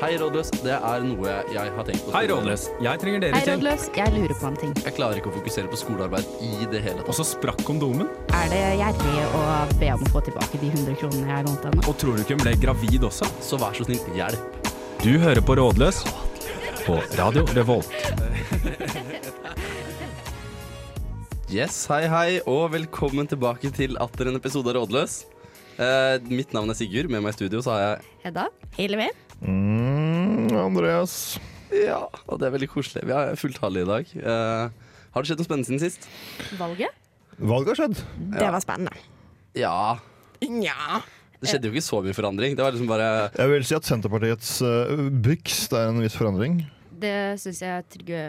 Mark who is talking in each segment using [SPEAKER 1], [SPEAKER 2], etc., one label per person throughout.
[SPEAKER 1] Hei, rådløs. Det er noe jeg har tenkt på.
[SPEAKER 2] Hei, Rådløs. Jeg trenger
[SPEAKER 3] Hei,
[SPEAKER 2] deres hjelp.
[SPEAKER 3] rådløs. Jeg lurer på en ting.
[SPEAKER 1] Jeg klarer ikke å fokusere på skolearbeid i det hele
[SPEAKER 2] Og
[SPEAKER 1] tatt.
[SPEAKER 2] så sprakk kondomen.
[SPEAKER 3] Er det gjerrig å be om å få tilbake de 100 kronene jeg lånte henne?
[SPEAKER 2] Og tror du ikke hun ble gravid også?
[SPEAKER 1] Så vær så snill, hjelp.
[SPEAKER 2] Du hører på Rådløs på Radio Revolt.
[SPEAKER 1] Yes, hei, hei, og velkommen tilbake til atter en episode av Rådløs. Eh, mitt navn er Sigurd. Med meg i studio så har jeg
[SPEAKER 3] Hedda? Hilvi?
[SPEAKER 4] Mm, Andreas.
[SPEAKER 1] Ja, og det er veldig koselig. Vi har fullt halv i dag. Eh, har det skjedd noe spennende siden sist?
[SPEAKER 3] Valget?
[SPEAKER 4] Valget har skjedd.
[SPEAKER 5] Det var spennende.
[SPEAKER 1] Ja.
[SPEAKER 5] Nja.
[SPEAKER 1] Det skjedde jo ikke så mye forandring. Det var liksom bare
[SPEAKER 4] Jeg vil si at Senterpartiets uh, byks det er en viss forandring.
[SPEAKER 3] Det syns jeg Trygve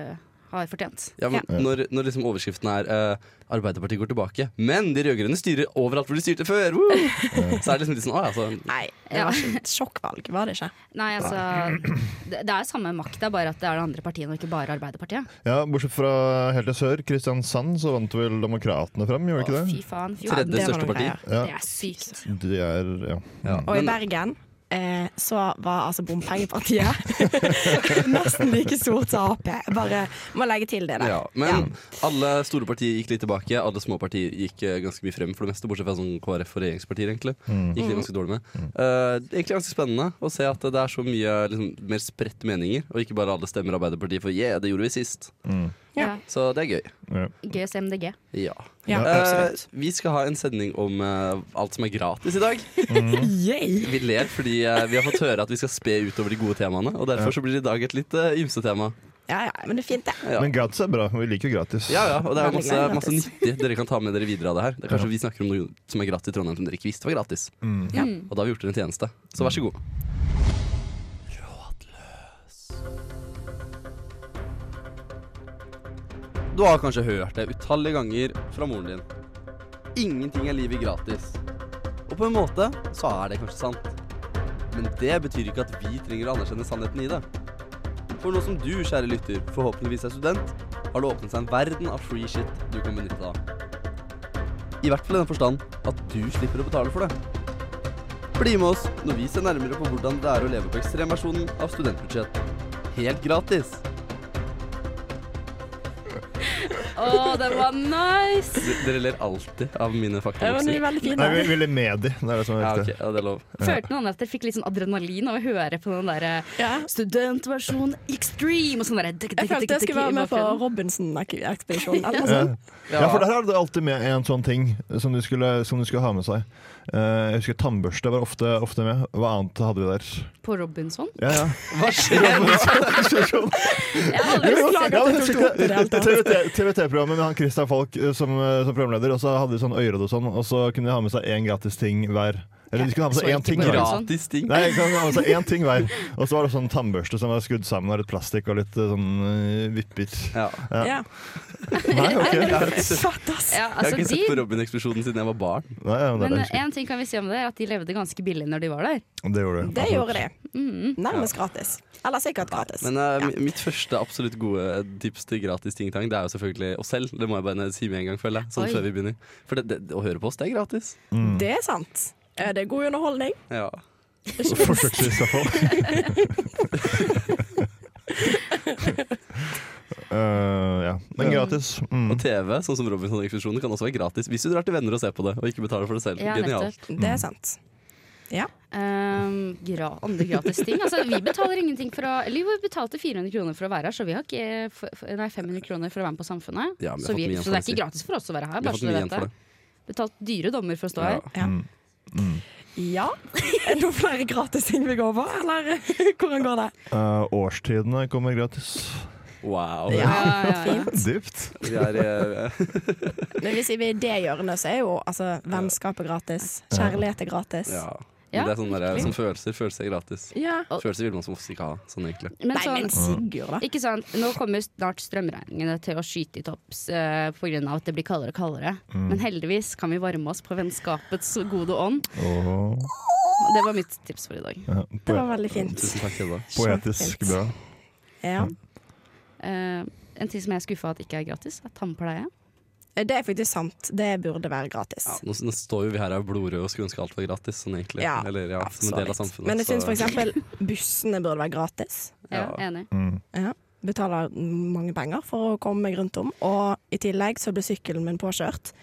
[SPEAKER 3] har fortjent.
[SPEAKER 1] ja, men Når, når liksom overskriften er eh, 'Arbeiderpartiet går tilbake', men de rød-grønne styrer overalt hvor de styrte før! Woo! Så er det liksom litt sånn Å ja, så
[SPEAKER 5] Nei, det var ikke et sjokkvalg, var det ikke?
[SPEAKER 3] Nei, altså Det det er samme makta, bare at det er de andre partiene og ikke bare Arbeiderpartiet.
[SPEAKER 4] Ja, Bortsett fra helt til sør, Kristiansand, så vant vel Demokratene fram, gjorde de ikke
[SPEAKER 3] Fy faen. Fy
[SPEAKER 1] Tredje
[SPEAKER 3] faen.
[SPEAKER 5] det var
[SPEAKER 1] største
[SPEAKER 5] noen
[SPEAKER 1] parti.
[SPEAKER 5] greier.
[SPEAKER 4] Ja.
[SPEAKER 3] Det er sykt.
[SPEAKER 4] det? De er ja.
[SPEAKER 1] ja.
[SPEAKER 5] Og i
[SPEAKER 1] Men-
[SPEAKER 5] Bergen eh, så var altså bompengepartiet nesten like stort som Ap. Bare må legge til det der.
[SPEAKER 1] Ja, men alle store partier gikk litt tilbake. Alle små partier gikk eh, ganske mye frem for det meste, bortsett fra sånn KrF og regjeringspartier, egentlig. Gikk det ganske dårlig med. Eh, det er egentlig ganske spennende å se at det er så mye liksom, mer spredt meninger, og ikke bare alle stemmer Arbeiderpartiet for yeah, det gjorde vi sist.
[SPEAKER 5] Ja.
[SPEAKER 1] Så det er gøy.
[SPEAKER 4] ja.
[SPEAKER 3] Gøy å se MDG.
[SPEAKER 1] Ja.
[SPEAKER 5] Ja,
[SPEAKER 1] Eh,
[SPEAKER 5] absolutt.
[SPEAKER 1] vi skal ha en sending om eh, alt som er gratis i dag.
[SPEAKER 5] Yay.
[SPEAKER 1] Vi ler fordi eh, vi har fått høre at vi skal spe utover de gode temaene. Og derfor så blir det i dag et litt eh, ymse tema.
[SPEAKER 5] Ja, ja, men det er fint, det.
[SPEAKER 1] Ja.
[SPEAKER 4] Men gratis er bra. Vi liker jo gratis.
[SPEAKER 1] Ja, ja, og det er
[SPEAKER 5] Veldig
[SPEAKER 1] masse,
[SPEAKER 5] glad i
[SPEAKER 1] masse
[SPEAKER 5] gratis.
[SPEAKER 1] nyttig dere kan ta med dere videre av det her. Det er kanskje vi snakker om noe som er gratis i Trondheim som dere ikke visste var gratis.
[SPEAKER 5] Ja.
[SPEAKER 1] Og da har vi gjort dere en tjeneste. Så vær så god. Rådløs. Du har kanskje hørt det utallige ganger fra moren din. Ingenting er livet gratis. Og på en måte så er det kanskje sant. Men det betyr ikke at vi trenger å anerkjenne sannheten i det. For nå som du, kjære lytter, forhåpentligvis er student, har det åpnet seg en verden av free shit du kan benytte deg av. I hvert fall i den forstand at du slipper å betale for det. Bli med oss når vi ser nærmere på hvordan det er å leve på ekstremversjonen av studentbudsjett. Helt gratis!
[SPEAKER 3] Å, den var nice!
[SPEAKER 1] Dere ler alltid av mine
[SPEAKER 5] Det var
[SPEAKER 1] faktabokser.
[SPEAKER 5] veldig fint.
[SPEAKER 4] Nei, vi,
[SPEAKER 5] Da.
[SPEAKER 4] vi ler med de. Det er det som er
[SPEAKER 1] Ja, ok,
[SPEAKER 4] viktig.
[SPEAKER 1] ja, det er lov.
[SPEAKER 3] Følte noen at dere fikk litt sånn adrenalin av å høre på den derre
[SPEAKER 5] Ja.
[SPEAKER 3] studentversjon extreme og sånn derre
[SPEAKER 5] Jeg følte jeg skulle være med på Robinson-ekspedisjonen. eller noe
[SPEAKER 4] Ja.
[SPEAKER 5] sånt.
[SPEAKER 4] Ja, for der er det alltid med en sånn ting som du skulle, som du skulle ha med seg. Eh, jeg husker tannbørste var ofte, ofte med. Hva annet hadde vi der?
[SPEAKER 3] På Robinson?
[SPEAKER 4] Ja, ja.
[SPEAKER 1] Hva skjer nå?
[SPEAKER 3] Jeg har aldri sett
[SPEAKER 4] Ja, men jeg
[SPEAKER 5] tok det opp i det hele tatt.
[SPEAKER 4] husker TVT-programmet med han Christian Falk eh, som, eh, som programleder, og så hadde de sånn øyråd og sånn, og så kunne de ha med seg én gratis ting hver. Eller de skulle ha med
[SPEAKER 5] Så
[SPEAKER 4] seg én
[SPEAKER 5] ikke
[SPEAKER 4] ting hver.
[SPEAKER 3] bra.
[SPEAKER 1] Gratis ting.
[SPEAKER 4] Nei, jeg kan ha med seg én ting hver. Og så var det sånn tannbørste som var skrudd sammen av litt plastikk og litt eh, sånn eh, vipper.
[SPEAKER 1] Ja.
[SPEAKER 5] Ja.
[SPEAKER 4] Nei, ok.
[SPEAKER 1] Jeg har ikke sett-
[SPEAKER 5] Satt, ass.
[SPEAKER 3] ja,
[SPEAKER 1] jeg har
[SPEAKER 3] altså,
[SPEAKER 1] ikke sett på
[SPEAKER 3] de,
[SPEAKER 1] Robin-eksplosjonen siden jeg var barn.
[SPEAKER 4] Nei, ja, men det,
[SPEAKER 3] Men
[SPEAKER 4] er
[SPEAKER 5] eh,
[SPEAKER 4] det,
[SPEAKER 3] én ting kan vi si om det, er at de levde ganske billig når de var der.
[SPEAKER 4] jeg husker. det gjorde
[SPEAKER 5] Det gjorde de.
[SPEAKER 3] Mm.
[SPEAKER 5] Nærmest gratis. Eller sikkert gratis.
[SPEAKER 1] Men eh,
[SPEAKER 5] Ja.
[SPEAKER 1] mi- mitt første absolutt gode tips til gratis ting-tang, det er jo selvfølgelig oss selv. Det må jeg bare si med en gang, føler jeg. Sånn
[SPEAKER 3] Oi.
[SPEAKER 1] før vi begynner. For det, det, å høre på oss, det er gratis.
[SPEAKER 5] Det er sant. Eh, Det er god underholdning.
[SPEAKER 1] Ja.
[SPEAKER 4] Forsøksvis, i hvert fall. Eh, ja. Men gratis. Mm.
[SPEAKER 1] Og TV, sånn som Robinson-ekspedisjonen, kan også være gratis hvis du drar til venner og ser på det, og ikke betaler for det selv.
[SPEAKER 3] Ja,
[SPEAKER 1] Genialt.
[SPEAKER 3] nettopp.
[SPEAKER 5] Det er sant. Ja.
[SPEAKER 3] Um, gra andre gratis ting. Altså, vi betaler ingenting for å Eller vi betalte 400 kroner for å være her, så vi har ikke f- f- Nei, 500 kroner for å være med på Samfunnet.
[SPEAKER 1] Ja, men vi har
[SPEAKER 3] så, vi,
[SPEAKER 1] fått mye igjen for det,
[SPEAKER 3] så det er ikke gratis for oss å være her.
[SPEAKER 1] Vi har
[SPEAKER 3] Bare
[SPEAKER 1] fått
[SPEAKER 3] så du
[SPEAKER 1] mye
[SPEAKER 3] vet
[SPEAKER 1] igjen for
[SPEAKER 3] det.
[SPEAKER 1] det.
[SPEAKER 3] Betalt dyre dommer for å
[SPEAKER 1] Ja.
[SPEAKER 3] stå her.
[SPEAKER 5] Ja.
[SPEAKER 4] Mm.
[SPEAKER 5] ja. Er det noen flere gratis ting vi går på, eller hvordan går det?
[SPEAKER 4] Eh, årstidene kommer gratis.
[SPEAKER 1] Wow.
[SPEAKER 5] Ja.
[SPEAKER 1] sånn
[SPEAKER 4] Dypt.
[SPEAKER 1] Vi er, eh,
[SPEAKER 5] Men hvis vi er i det hjørnet, så er jo altså, vennskap er gratis. Kjærlighet er gratis.
[SPEAKER 1] ja. Men
[SPEAKER 3] Ja,
[SPEAKER 1] det er sånn der,
[SPEAKER 3] virkelig.
[SPEAKER 1] som følelser. Følelser er gratis.
[SPEAKER 5] Ja.
[SPEAKER 1] Følelser vil man som oftest ikke ha. Sånn egentlig.
[SPEAKER 3] Men
[SPEAKER 5] Nei,
[SPEAKER 3] sånn
[SPEAKER 5] men Sigurd, da.
[SPEAKER 3] Ikke sant? Nå kommer snart strømregningene til å skyte i topps eh, på grunn av at det blir kaldere og kaldere.
[SPEAKER 5] Mm.
[SPEAKER 3] Men heldigvis kan vi varme oss på vennskapets gode ånd.
[SPEAKER 4] Åh,
[SPEAKER 3] Det var mitt tips for i dag.
[SPEAKER 4] ja.
[SPEAKER 5] Det
[SPEAKER 4] Poe
[SPEAKER 5] var veldig fint.
[SPEAKER 1] Tusen takk, Hedda.
[SPEAKER 4] poetisk bra.
[SPEAKER 5] Ja.
[SPEAKER 3] Eh, en ting som jeg er skuffa at ikke er gratis, er tannpleie.
[SPEAKER 5] Det er faktisk sant. Det burde være gratis.
[SPEAKER 1] Ja, nå, nå står jo vi her og er blodrøde og skulle ønske alt var gratis, sånn egentlig.
[SPEAKER 5] Ja,
[SPEAKER 1] Eller ja,
[SPEAKER 5] ja,
[SPEAKER 1] som
[SPEAKER 5] så
[SPEAKER 1] en del av
[SPEAKER 5] litt.
[SPEAKER 1] samfunnet.
[SPEAKER 5] Men jeg syns
[SPEAKER 1] så-
[SPEAKER 5] f.eks. bussene burde være gratis.
[SPEAKER 3] Ja,
[SPEAKER 1] Ja.
[SPEAKER 3] enig.
[SPEAKER 4] Mm.
[SPEAKER 5] Ja. Betaler mange penger for å komme meg rundt om. Og i tillegg så ble sykkelen min påkjørt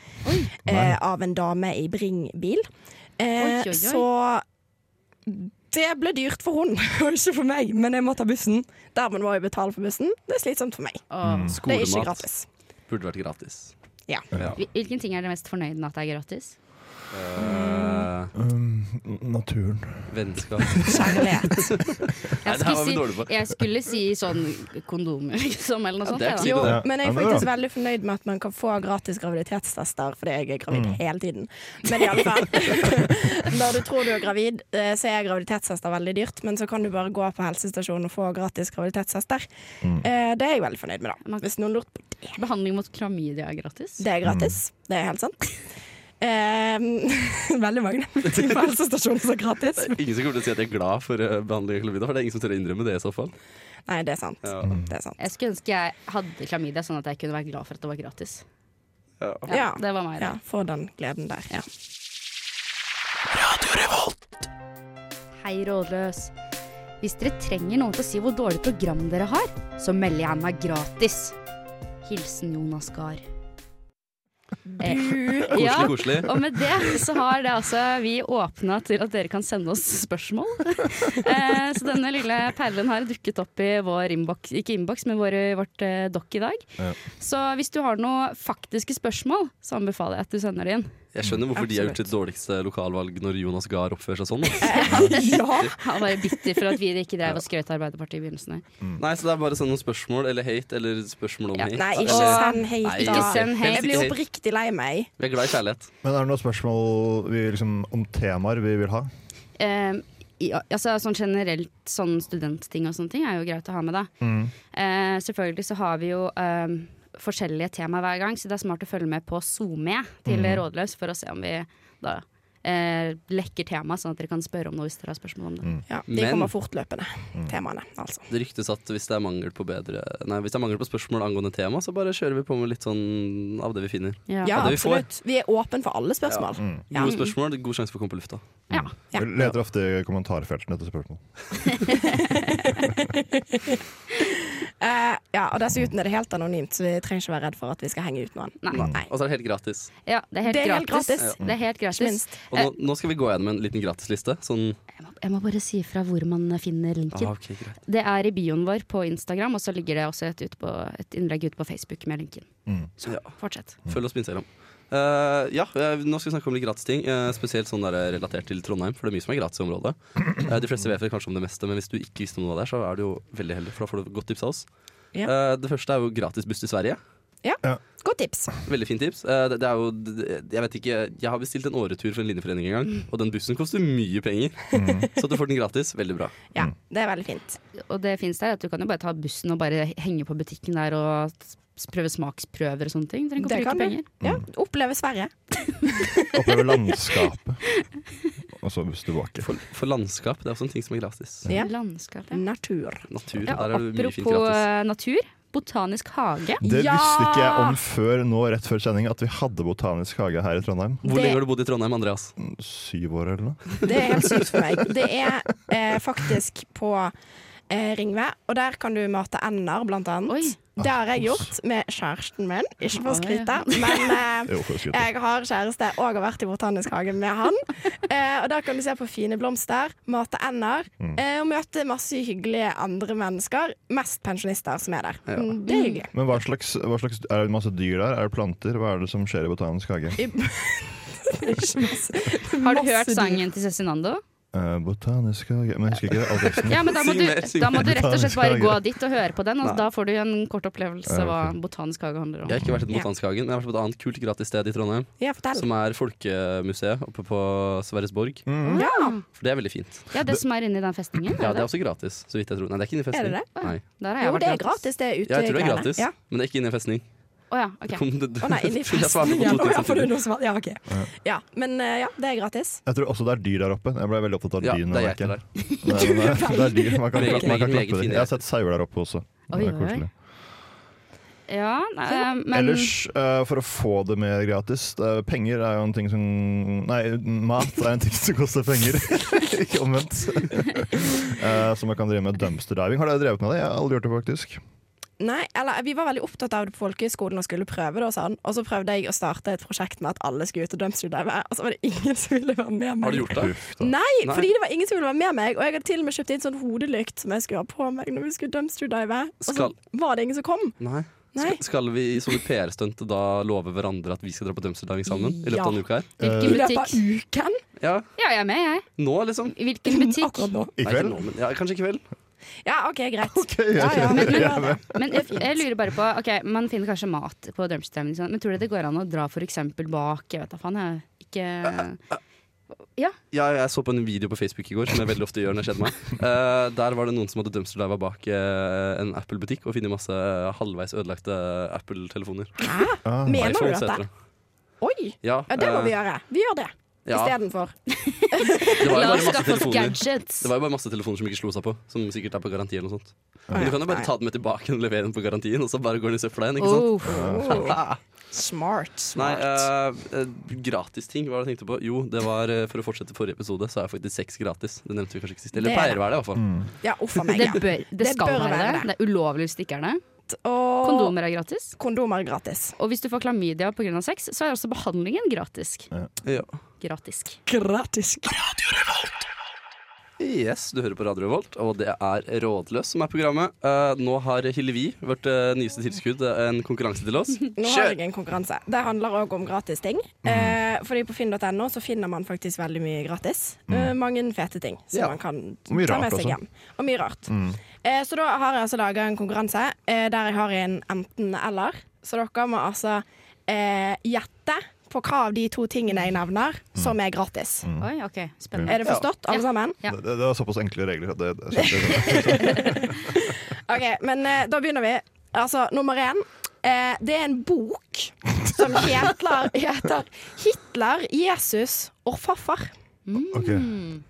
[SPEAKER 5] eh, av en dame i Bring-bil.
[SPEAKER 3] Oi,
[SPEAKER 5] Eh,
[SPEAKER 3] oi, oi.
[SPEAKER 5] Så det ble dyrt for hun, og ikke for meg, men jeg må ta bussen. Dermed må jeg betale for bussen. Det er slitsomt for meg.
[SPEAKER 3] Og,
[SPEAKER 1] Mm.
[SPEAKER 5] Det er ikke
[SPEAKER 1] Skolemat
[SPEAKER 5] gratis.
[SPEAKER 1] burde vært gratis.
[SPEAKER 5] Ja.
[SPEAKER 1] Ja.
[SPEAKER 3] hvil- Hvilken ting er det mest fornøyd med at det er gratis?
[SPEAKER 1] Eh,
[SPEAKER 4] Um, naturen.
[SPEAKER 1] vennskap.
[SPEAKER 5] Kjærlighet.
[SPEAKER 1] Nei, det her var
[SPEAKER 3] Jeg
[SPEAKER 1] vi
[SPEAKER 3] skulle,
[SPEAKER 1] dårlige på.
[SPEAKER 3] si, jeg skulle si sånn kondomer, liksom, eller noe
[SPEAKER 1] Ja,
[SPEAKER 3] sånt.
[SPEAKER 1] det er
[SPEAKER 3] jeg, da.
[SPEAKER 1] ikke
[SPEAKER 5] Jo,
[SPEAKER 1] det.
[SPEAKER 5] men jeg
[SPEAKER 4] Ja,
[SPEAKER 5] er
[SPEAKER 4] det er
[SPEAKER 5] faktisk
[SPEAKER 4] bra.
[SPEAKER 5] veldig fornøyd med at man kan få gratis graviditetstester, fordi jeg er
[SPEAKER 4] Mm.
[SPEAKER 5] gravid hele tiden. Men i alle fall, når du tror du er gravid, eh, så er graviditetstester veldig dyrt, men så kan du bare gå på helsestasjonen og få gratis graviditetstester.
[SPEAKER 4] Mm.
[SPEAKER 5] Eh, Det er jeg veldig fornøyd med, da.
[SPEAKER 3] Man-
[SPEAKER 5] Hvis noen lurte på
[SPEAKER 3] Behandling mot klamydia er gratis.
[SPEAKER 4] Mm.
[SPEAKER 5] Det er gratis. Det er helt sant. Eh, veldig mange ting på helsestasjonen som er gratis.
[SPEAKER 1] Ingen som kommer til å si at jeg er glad for eh, behandling av klamydia, for det er ingen som tør å innrømme det i så fall.
[SPEAKER 5] Nei, det er sant.
[SPEAKER 1] Ja.
[SPEAKER 5] Det er sant.
[SPEAKER 3] Jeg skulle ønske jeg hadde klamydia, sånn at jeg kunne være glad for at det var gratis.
[SPEAKER 1] Ja.
[SPEAKER 3] Ja,
[SPEAKER 5] Ja.
[SPEAKER 3] Det var meg,
[SPEAKER 5] Ja,
[SPEAKER 3] da.
[SPEAKER 5] Få den gleden der.
[SPEAKER 3] Ja. Hei, rådløs. Hvis dere trenger noen til å si hvor dårlig program dere har, så melder jeg meg gratis. Hilsen Jonas Gahr. Eh,
[SPEAKER 1] Koselig,
[SPEAKER 3] ja,
[SPEAKER 1] koselig.
[SPEAKER 3] Og med det så har det altså vi åpna til at dere kan sende oss spørsmål. Eh, så denne lille perlen har dukket opp i vår innboks, ikke innboks, men vår, vårt eh, dokk i dag.
[SPEAKER 4] Ja.
[SPEAKER 3] Så hvis du har noen faktiske spørsmål, så anbefaler jeg at du sender det inn.
[SPEAKER 1] Jeg skjønner hvorfor de har gjort
[SPEAKER 5] Absolutt.
[SPEAKER 1] sitt dårligste lokalvalg når Jonas Gahr oppfører seg sånn. da.
[SPEAKER 5] Ja.
[SPEAKER 3] Han var bitter for at vi ikke drev og skrøt av Arbeiderpartiet i begynnelsen. her.
[SPEAKER 1] Nei, så det er bare å sende noen spørsmål eller hate eller spørsmål om
[SPEAKER 3] Ja,
[SPEAKER 1] hate.
[SPEAKER 5] Mm. Nei, ikke
[SPEAKER 1] Eller-
[SPEAKER 5] send hate,
[SPEAKER 1] Nei,
[SPEAKER 5] da.
[SPEAKER 3] Ikke send hate.
[SPEAKER 5] Jeg blir oppriktig lei meg.
[SPEAKER 1] Vi er glad i kjærlighet.
[SPEAKER 4] Men er det noen spørsmål vi, liksom, om temaer vi vil ha?
[SPEAKER 3] Eh, ja, altså, sånn generelt sånn studentting og sånne ting er jo greit å ha med, da. Eh, selvfølgelig så har vi jo eh, forskjellige tema hver gang, så det er smart å følge med på SoMe til Rådløs for å se om vi da eh, lekker tema, sånn at dere kan spørre om noe hvis dere har spørsmål om det.
[SPEAKER 5] Ja, de
[SPEAKER 1] Men-
[SPEAKER 5] kommer fortløpende, temaene, altså.
[SPEAKER 1] Det ryktes at hvis det er mangel på bedre Nei, hvis det er mangel på spørsmål angående tema, så bare kjører vi på med litt sånn av det vi finner.
[SPEAKER 3] Ja.
[SPEAKER 5] Ja,
[SPEAKER 1] det vi får.
[SPEAKER 5] absolutt. Vi er åpne for alle spørsmål. Ja. Mm.
[SPEAKER 1] Gode spørsmål, god sjanse for å komme på lufta.
[SPEAKER 3] Ja.
[SPEAKER 5] Ja.
[SPEAKER 4] Vi leter ofte i kommentarfeltene etter spørsmål.
[SPEAKER 5] Eh, ja, og dessuten er det helt anonymt, så vi trenger ikke være redd for at vi skal henge ut noen.
[SPEAKER 3] Nei.
[SPEAKER 5] Nei.
[SPEAKER 1] Og så er det helt gratis.
[SPEAKER 3] ja, det er helt
[SPEAKER 5] Det er helt
[SPEAKER 3] gratis.
[SPEAKER 5] gratis.
[SPEAKER 3] Det er helt
[SPEAKER 5] Ikke
[SPEAKER 3] gratis.
[SPEAKER 5] minst.
[SPEAKER 1] Og nå, nå skal vi gå gjennom en liten gratisliste. Sånn
[SPEAKER 3] Jeg må, jeg må bare si ifra hvor man finner linken.
[SPEAKER 1] ah, ok, greit.
[SPEAKER 3] Det er i bioen vår på Instagram, og så ligger det også et, ut på, et innlegg ute på Facebook med linken. Så
[SPEAKER 1] Ja.
[SPEAKER 3] fortsett.
[SPEAKER 1] Følg oss på Instagram. Eh, ja, eh, nå skal vi snakke om litt gratis ting. eh, spesielt sånn der, eh, relatert til Trondheim, for det er mye som er gratis i området. Eh, de fleste vet vel kanskje om det meste, men hvis du ikke visste om noe av det, så er du jo veldig heldig, for da får du godt tips av oss.
[SPEAKER 5] Ja.
[SPEAKER 1] Eh, det første er jo gratis buss til Sverige.
[SPEAKER 5] Godt tips.
[SPEAKER 1] Veldig fint tips. Eh, Det, det er jo, det- jeg vet ikke, jeg har bestilt en åretur for en linjeforening en gang, og den bussen koster mye penger.
[SPEAKER 5] Mhm.
[SPEAKER 1] Så at du får den gratis, veldig bra.
[SPEAKER 5] Ja, det er veldig fint.
[SPEAKER 3] Og det finnes der at du kan jo bare ta bussen og bare henge på butikken der og s- prøve smaksprøver og sånne ting. Trenger
[SPEAKER 5] Det
[SPEAKER 3] ikke å
[SPEAKER 5] kan
[SPEAKER 3] bruke
[SPEAKER 5] du.
[SPEAKER 3] penger.
[SPEAKER 5] Ja, oppleve Sverige.
[SPEAKER 4] Oppleve landskapet. Og så buss tilbake.
[SPEAKER 1] For, for landskap, det er også en ting som er gratis.
[SPEAKER 5] Ja. Mm.
[SPEAKER 3] Landskap, ja.
[SPEAKER 5] Natur.
[SPEAKER 1] Natur,
[SPEAKER 3] ja
[SPEAKER 1] der er det mye fint
[SPEAKER 3] apropos
[SPEAKER 1] gratis.
[SPEAKER 3] eh, natur. Botanisk hage.
[SPEAKER 4] Det
[SPEAKER 5] Ja!
[SPEAKER 4] visste ikke jeg om før nå, rett før sending, at vi hadde botanisk hage her i Trondheim.
[SPEAKER 1] Hvor
[SPEAKER 5] eh, det-
[SPEAKER 1] lenge har du bodd i Trondheim, Andreas?
[SPEAKER 4] Syv år eller noe.
[SPEAKER 5] Det er helt sykt for meg. Det er eh, faktisk på eh, Ringve, og der kan du mate ender, blant annet.
[SPEAKER 3] Oi.
[SPEAKER 5] Det har jeg gjort med kjæresten min. Ikke for å
[SPEAKER 3] Oi.
[SPEAKER 5] skryte, men eh,
[SPEAKER 4] Jo, for å skryte.
[SPEAKER 5] jeg har kjæreste og har vært i botanisk hage med han. Eh, og der kan du se på fine blomster, mate ender, eh, og møte masse hyggelige andre mennesker. Mest pensjonister som er der.
[SPEAKER 1] Ja.
[SPEAKER 5] Mm, Det er hyggelig.
[SPEAKER 4] Men hva slags, hva slags, er det masse dyr der? Er det planter? Hva er det som skjer i botanisk hage?
[SPEAKER 3] Har du hørt sangen til Cezinando?
[SPEAKER 4] Eh, botanisk hage Men jeg husker ikke all teksten.
[SPEAKER 3] Ja, men da må,
[SPEAKER 1] Syng
[SPEAKER 3] du,
[SPEAKER 1] mer, syng
[SPEAKER 3] da må du
[SPEAKER 1] mer.
[SPEAKER 3] rett og slett
[SPEAKER 4] Botanisk
[SPEAKER 3] bare
[SPEAKER 4] hage.
[SPEAKER 3] gå dit og høre på den, og
[SPEAKER 1] Nei.
[SPEAKER 3] da får du en kort opplevelse
[SPEAKER 4] Ja,
[SPEAKER 3] hva
[SPEAKER 4] ok.
[SPEAKER 3] botanisk hage handler om.
[SPEAKER 1] Jeg har ikke vært i
[SPEAKER 5] Ja.
[SPEAKER 1] Botanskehagen, men jeg har vært på et annet kult gratis sted i Trondheim.
[SPEAKER 5] Ja, fortell.
[SPEAKER 1] Som er Folkemuseet oppe på Sverresborg.
[SPEAKER 4] Mm.
[SPEAKER 5] Ja.
[SPEAKER 1] For det er veldig fint.
[SPEAKER 3] Ja, det som er inni den festningen?
[SPEAKER 1] Ja, det er også gratis, så vidt jeg tror. Nei, det er ikke inne i
[SPEAKER 5] Er det
[SPEAKER 1] festning.
[SPEAKER 5] det?
[SPEAKER 1] Nei.
[SPEAKER 3] Der har jeg
[SPEAKER 5] Jo,
[SPEAKER 3] vært
[SPEAKER 5] det er gratis. Det er ute.
[SPEAKER 1] Ja, jeg tror det er
[SPEAKER 5] greiene.
[SPEAKER 1] gratis,
[SPEAKER 5] Ja.
[SPEAKER 1] men det er ikke inne i festning.
[SPEAKER 3] Å ja, ok.
[SPEAKER 1] Kom, du, du,
[SPEAKER 5] Å nei, inni
[SPEAKER 1] jeg svarte på to
[SPEAKER 5] festningen.
[SPEAKER 1] ting
[SPEAKER 5] Å ja, får
[SPEAKER 1] samtidig.
[SPEAKER 5] du noe svar? Ja, ok. Ja, men eh, ja, det er gratis.
[SPEAKER 4] Jeg tror også det er dyr der oppe. Jeg ble veldig opptatt av
[SPEAKER 1] Ja,
[SPEAKER 4] dyrene.
[SPEAKER 1] det er jeg
[SPEAKER 4] merker
[SPEAKER 1] til
[SPEAKER 4] jeg. Nei, men eh, det, det er dyr. Man kan,
[SPEAKER 1] Meget,
[SPEAKER 4] man
[SPEAKER 1] meget,
[SPEAKER 4] kan
[SPEAKER 1] meget
[SPEAKER 4] klappe
[SPEAKER 1] fine
[SPEAKER 4] dem. Jeg har sett sauer der oppe også.
[SPEAKER 3] Oi, oi,
[SPEAKER 4] Det er
[SPEAKER 3] oi.
[SPEAKER 4] koselig.
[SPEAKER 3] Ja, nei, eh, men
[SPEAKER 4] Ellers, eh, for å få det mer gratis det er- Penger er jo en ting som Nei, mat er en ting som koster penger. Ikke omvendt. Eh, så man kan drive med dumpster diving. Har dere drevet med det? Jeg har aldri gjort det, faktisk.
[SPEAKER 5] Nei, eller Vi var veldig opptatt av det på folkehøyskolen og skulle prøve det. Og sånn Og så prøvde jeg å starte et prosjekt med at alle skulle ut og dumpster dive. Og så var det ingen som ville være med meg.
[SPEAKER 1] Har du gjort det?
[SPEAKER 4] Uff, da.
[SPEAKER 5] Nei,
[SPEAKER 1] Nei.
[SPEAKER 5] fordi det var ingen som ville være med meg. Og jeg hadde til og med kjøpt inn sånn hodelykt som jeg skulle ha på meg når vi skulle dumpster dive. Og så
[SPEAKER 1] Skal-
[SPEAKER 5] var det ingen som kom.
[SPEAKER 1] Nei.
[SPEAKER 5] Nei.
[SPEAKER 1] Skal, skal vi som et PR-stunt da love hverandre at vi skal dra på dumpsterdiving sammen? I løpet av
[SPEAKER 5] Ja.
[SPEAKER 1] en uke her?
[SPEAKER 3] hvilken
[SPEAKER 5] eh, I løpet av
[SPEAKER 3] butikk?
[SPEAKER 5] uken. Mm,
[SPEAKER 1] Ja,
[SPEAKER 3] Ja, jeg er med, jeg.
[SPEAKER 1] Nå, liksom?
[SPEAKER 3] Hvilken butikk?
[SPEAKER 5] Akkurat nå.
[SPEAKER 4] I
[SPEAKER 1] Nei, ikke
[SPEAKER 4] kveld?
[SPEAKER 1] nå, men, ja, kanskje i kveld?
[SPEAKER 5] Ja, OK, greit.
[SPEAKER 4] jeg
[SPEAKER 5] ja, ja, men,
[SPEAKER 4] jeg er
[SPEAKER 5] ja,
[SPEAKER 3] Men jeg, jeg lurer bare på Ok, Man finner kanskje mat på drømmesystemet, liksom. men tror dere det går an å dra for eksempel bak Jeg vet da faen, jeg. Ikke Ja.
[SPEAKER 1] Ja, jeg så på en video på Facebook i går, som jeg veldig ofte gjør når jeg kjeder meg. Eh, der var det noen som hadde dumpsterdiva bak eh, en Apple-butikk og funnet masse eh, halvveis ødelagte eh, Apple-telefoner.
[SPEAKER 4] Ah.
[SPEAKER 5] Mener du
[SPEAKER 1] iPhones
[SPEAKER 5] at
[SPEAKER 1] heter
[SPEAKER 5] det?
[SPEAKER 1] det.
[SPEAKER 5] Oi!
[SPEAKER 1] Ja,
[SPEAKER 5] Ja, det må
[SPEAKER 1] eh,
[SPEAKER 5] vi gjøre. Vi gjør det
[SPEAKER 1] ja,
[SPEAKER 5] istedenfor.
[SPEAKER 1] det var jo
[SPEAKER 3] La
[SPEAKER 1] bare
[SPEAKER 3] oss
[SPEAKER 1] masse
[SPEAKER 3] skaffe oss
[SPEAKER 1] telefoner.
[SPEAKER 3] gadgets.
[SPEAKER 1] Det var jo bare masse telefoner som ikke slo seg på, som sikkert er på garanti eller noe sånt. Men du kan jo bare ta den med tilbake og levere den på garantien, og så bare går den i søpla igjen, ikke sant?
[SPEAKER 3] Oh,
[SPEAKER 5] Oh. Smart,
[SPEAKER 1] Nei,
[SPEAKER 5] smart.
[SPEAKER 1] eh, eh, gratisting, hva var det jeg tenkte på? Jo, det var eh, for å fortsette forrige episode, så er faktisk sex gratis. Det nevnte vi kanskje ikke sist. Eller
[SPEAKER 5] Det er det.
[SPEAKER 1] pleier å være det, i hvert fall.
[SPEAKER 5] ja, uff a meg.
[SPEAKER 3] det,
[SPEAKER 5] ja.
[SPEAKER 3] bør, det
[SPEAKER 5] Det
[SPEAKER 3] skal
[SPEAKER 5] bør
[SPEAKER 3] være
[SPEAKER 5] være
[SPEAKER 3] det. Det er ulovlig hvis det ikke er det.
[SPEAKER 5] Og
[SPEAKER 3] Kondomer er gratis.
[SPEAKER 5] kondomer er gratis.
[SPEAKER 3] Og hvis du får klamydia pga. sex, så er også behandlingen gratis.
[SPEAKER 1] Ja.
[SPEAKER 3] Gratisk.
[SPEAKER 5] Gratis.
[SPEAKER 1] Yes, du hører på Radio Revolt, og det er Rådløs som er programmet. Eh, nå har Hillevi, vårt eh, nyeste tilskudd, eh, en konkurranse til oss.
[SPEAKER 5] Nå har jeg en konkurranse. Det handler òg om gratis ting.
[SPEAKER 4] Mhm.
[SPEAKER 5] Eh, fordi på finn.no så finner man faktisk veldig mye gratis. Eh, mange fete ting som
[SPEAKER 1] Ja.
[SPEAKER 5] man kan
[SPEAKER 4] Mhm. mye
[SPEAKER 5] ta
[SPEAKER 4] rart
[SPEAKER 5] med seg
[SPEAKER 4] også. Mhm.
[SPEAKER 5] hjem. Og mye rart. Eh, så da har jeg altså laga en konkurranse eh, der jeg har en enten-eller. Så dere må altså eh, gjette på hva av de to tingene jeg
[SPEAKER 4] Mhm.
[SPEAKER 5] nevner, som er gratis.
[SPEAKER 1] Mm.
[SPEAKER 3] Oi, ok,
[SPEAKER 5] Er
[SPEAKER 3] spennende.
[SPEAKER 5] det forstått, alle sammen?
[SPEAKER 3] Ja.
[SPEAKER 4] Det, det var såpass enkle regler at det, jeg skjønte det.
[SPEAKER 5] Ok, men eh, da begynner vi. Altså, nummer én. Eh, det er en bok som heter, heter 'Hitler, Jesus og farfar'.
[SPEAKER 4] Ok.